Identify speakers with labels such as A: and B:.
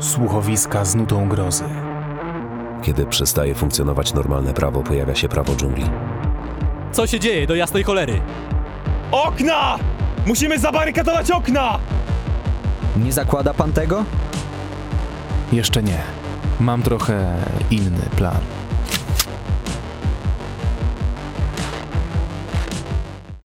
A: Słuchowiska z nutą grozy.
B: Kiedy przestaje funkcjonować normalne prawo, pojawia się prawo dżungli.
C: Co się dzieje do jasnej cholery?
D: Okna! Musimy zabarykadować okna!
E: Nie zakłada pan tego?
A: Jeszcze nie. Mam trochę inny plan.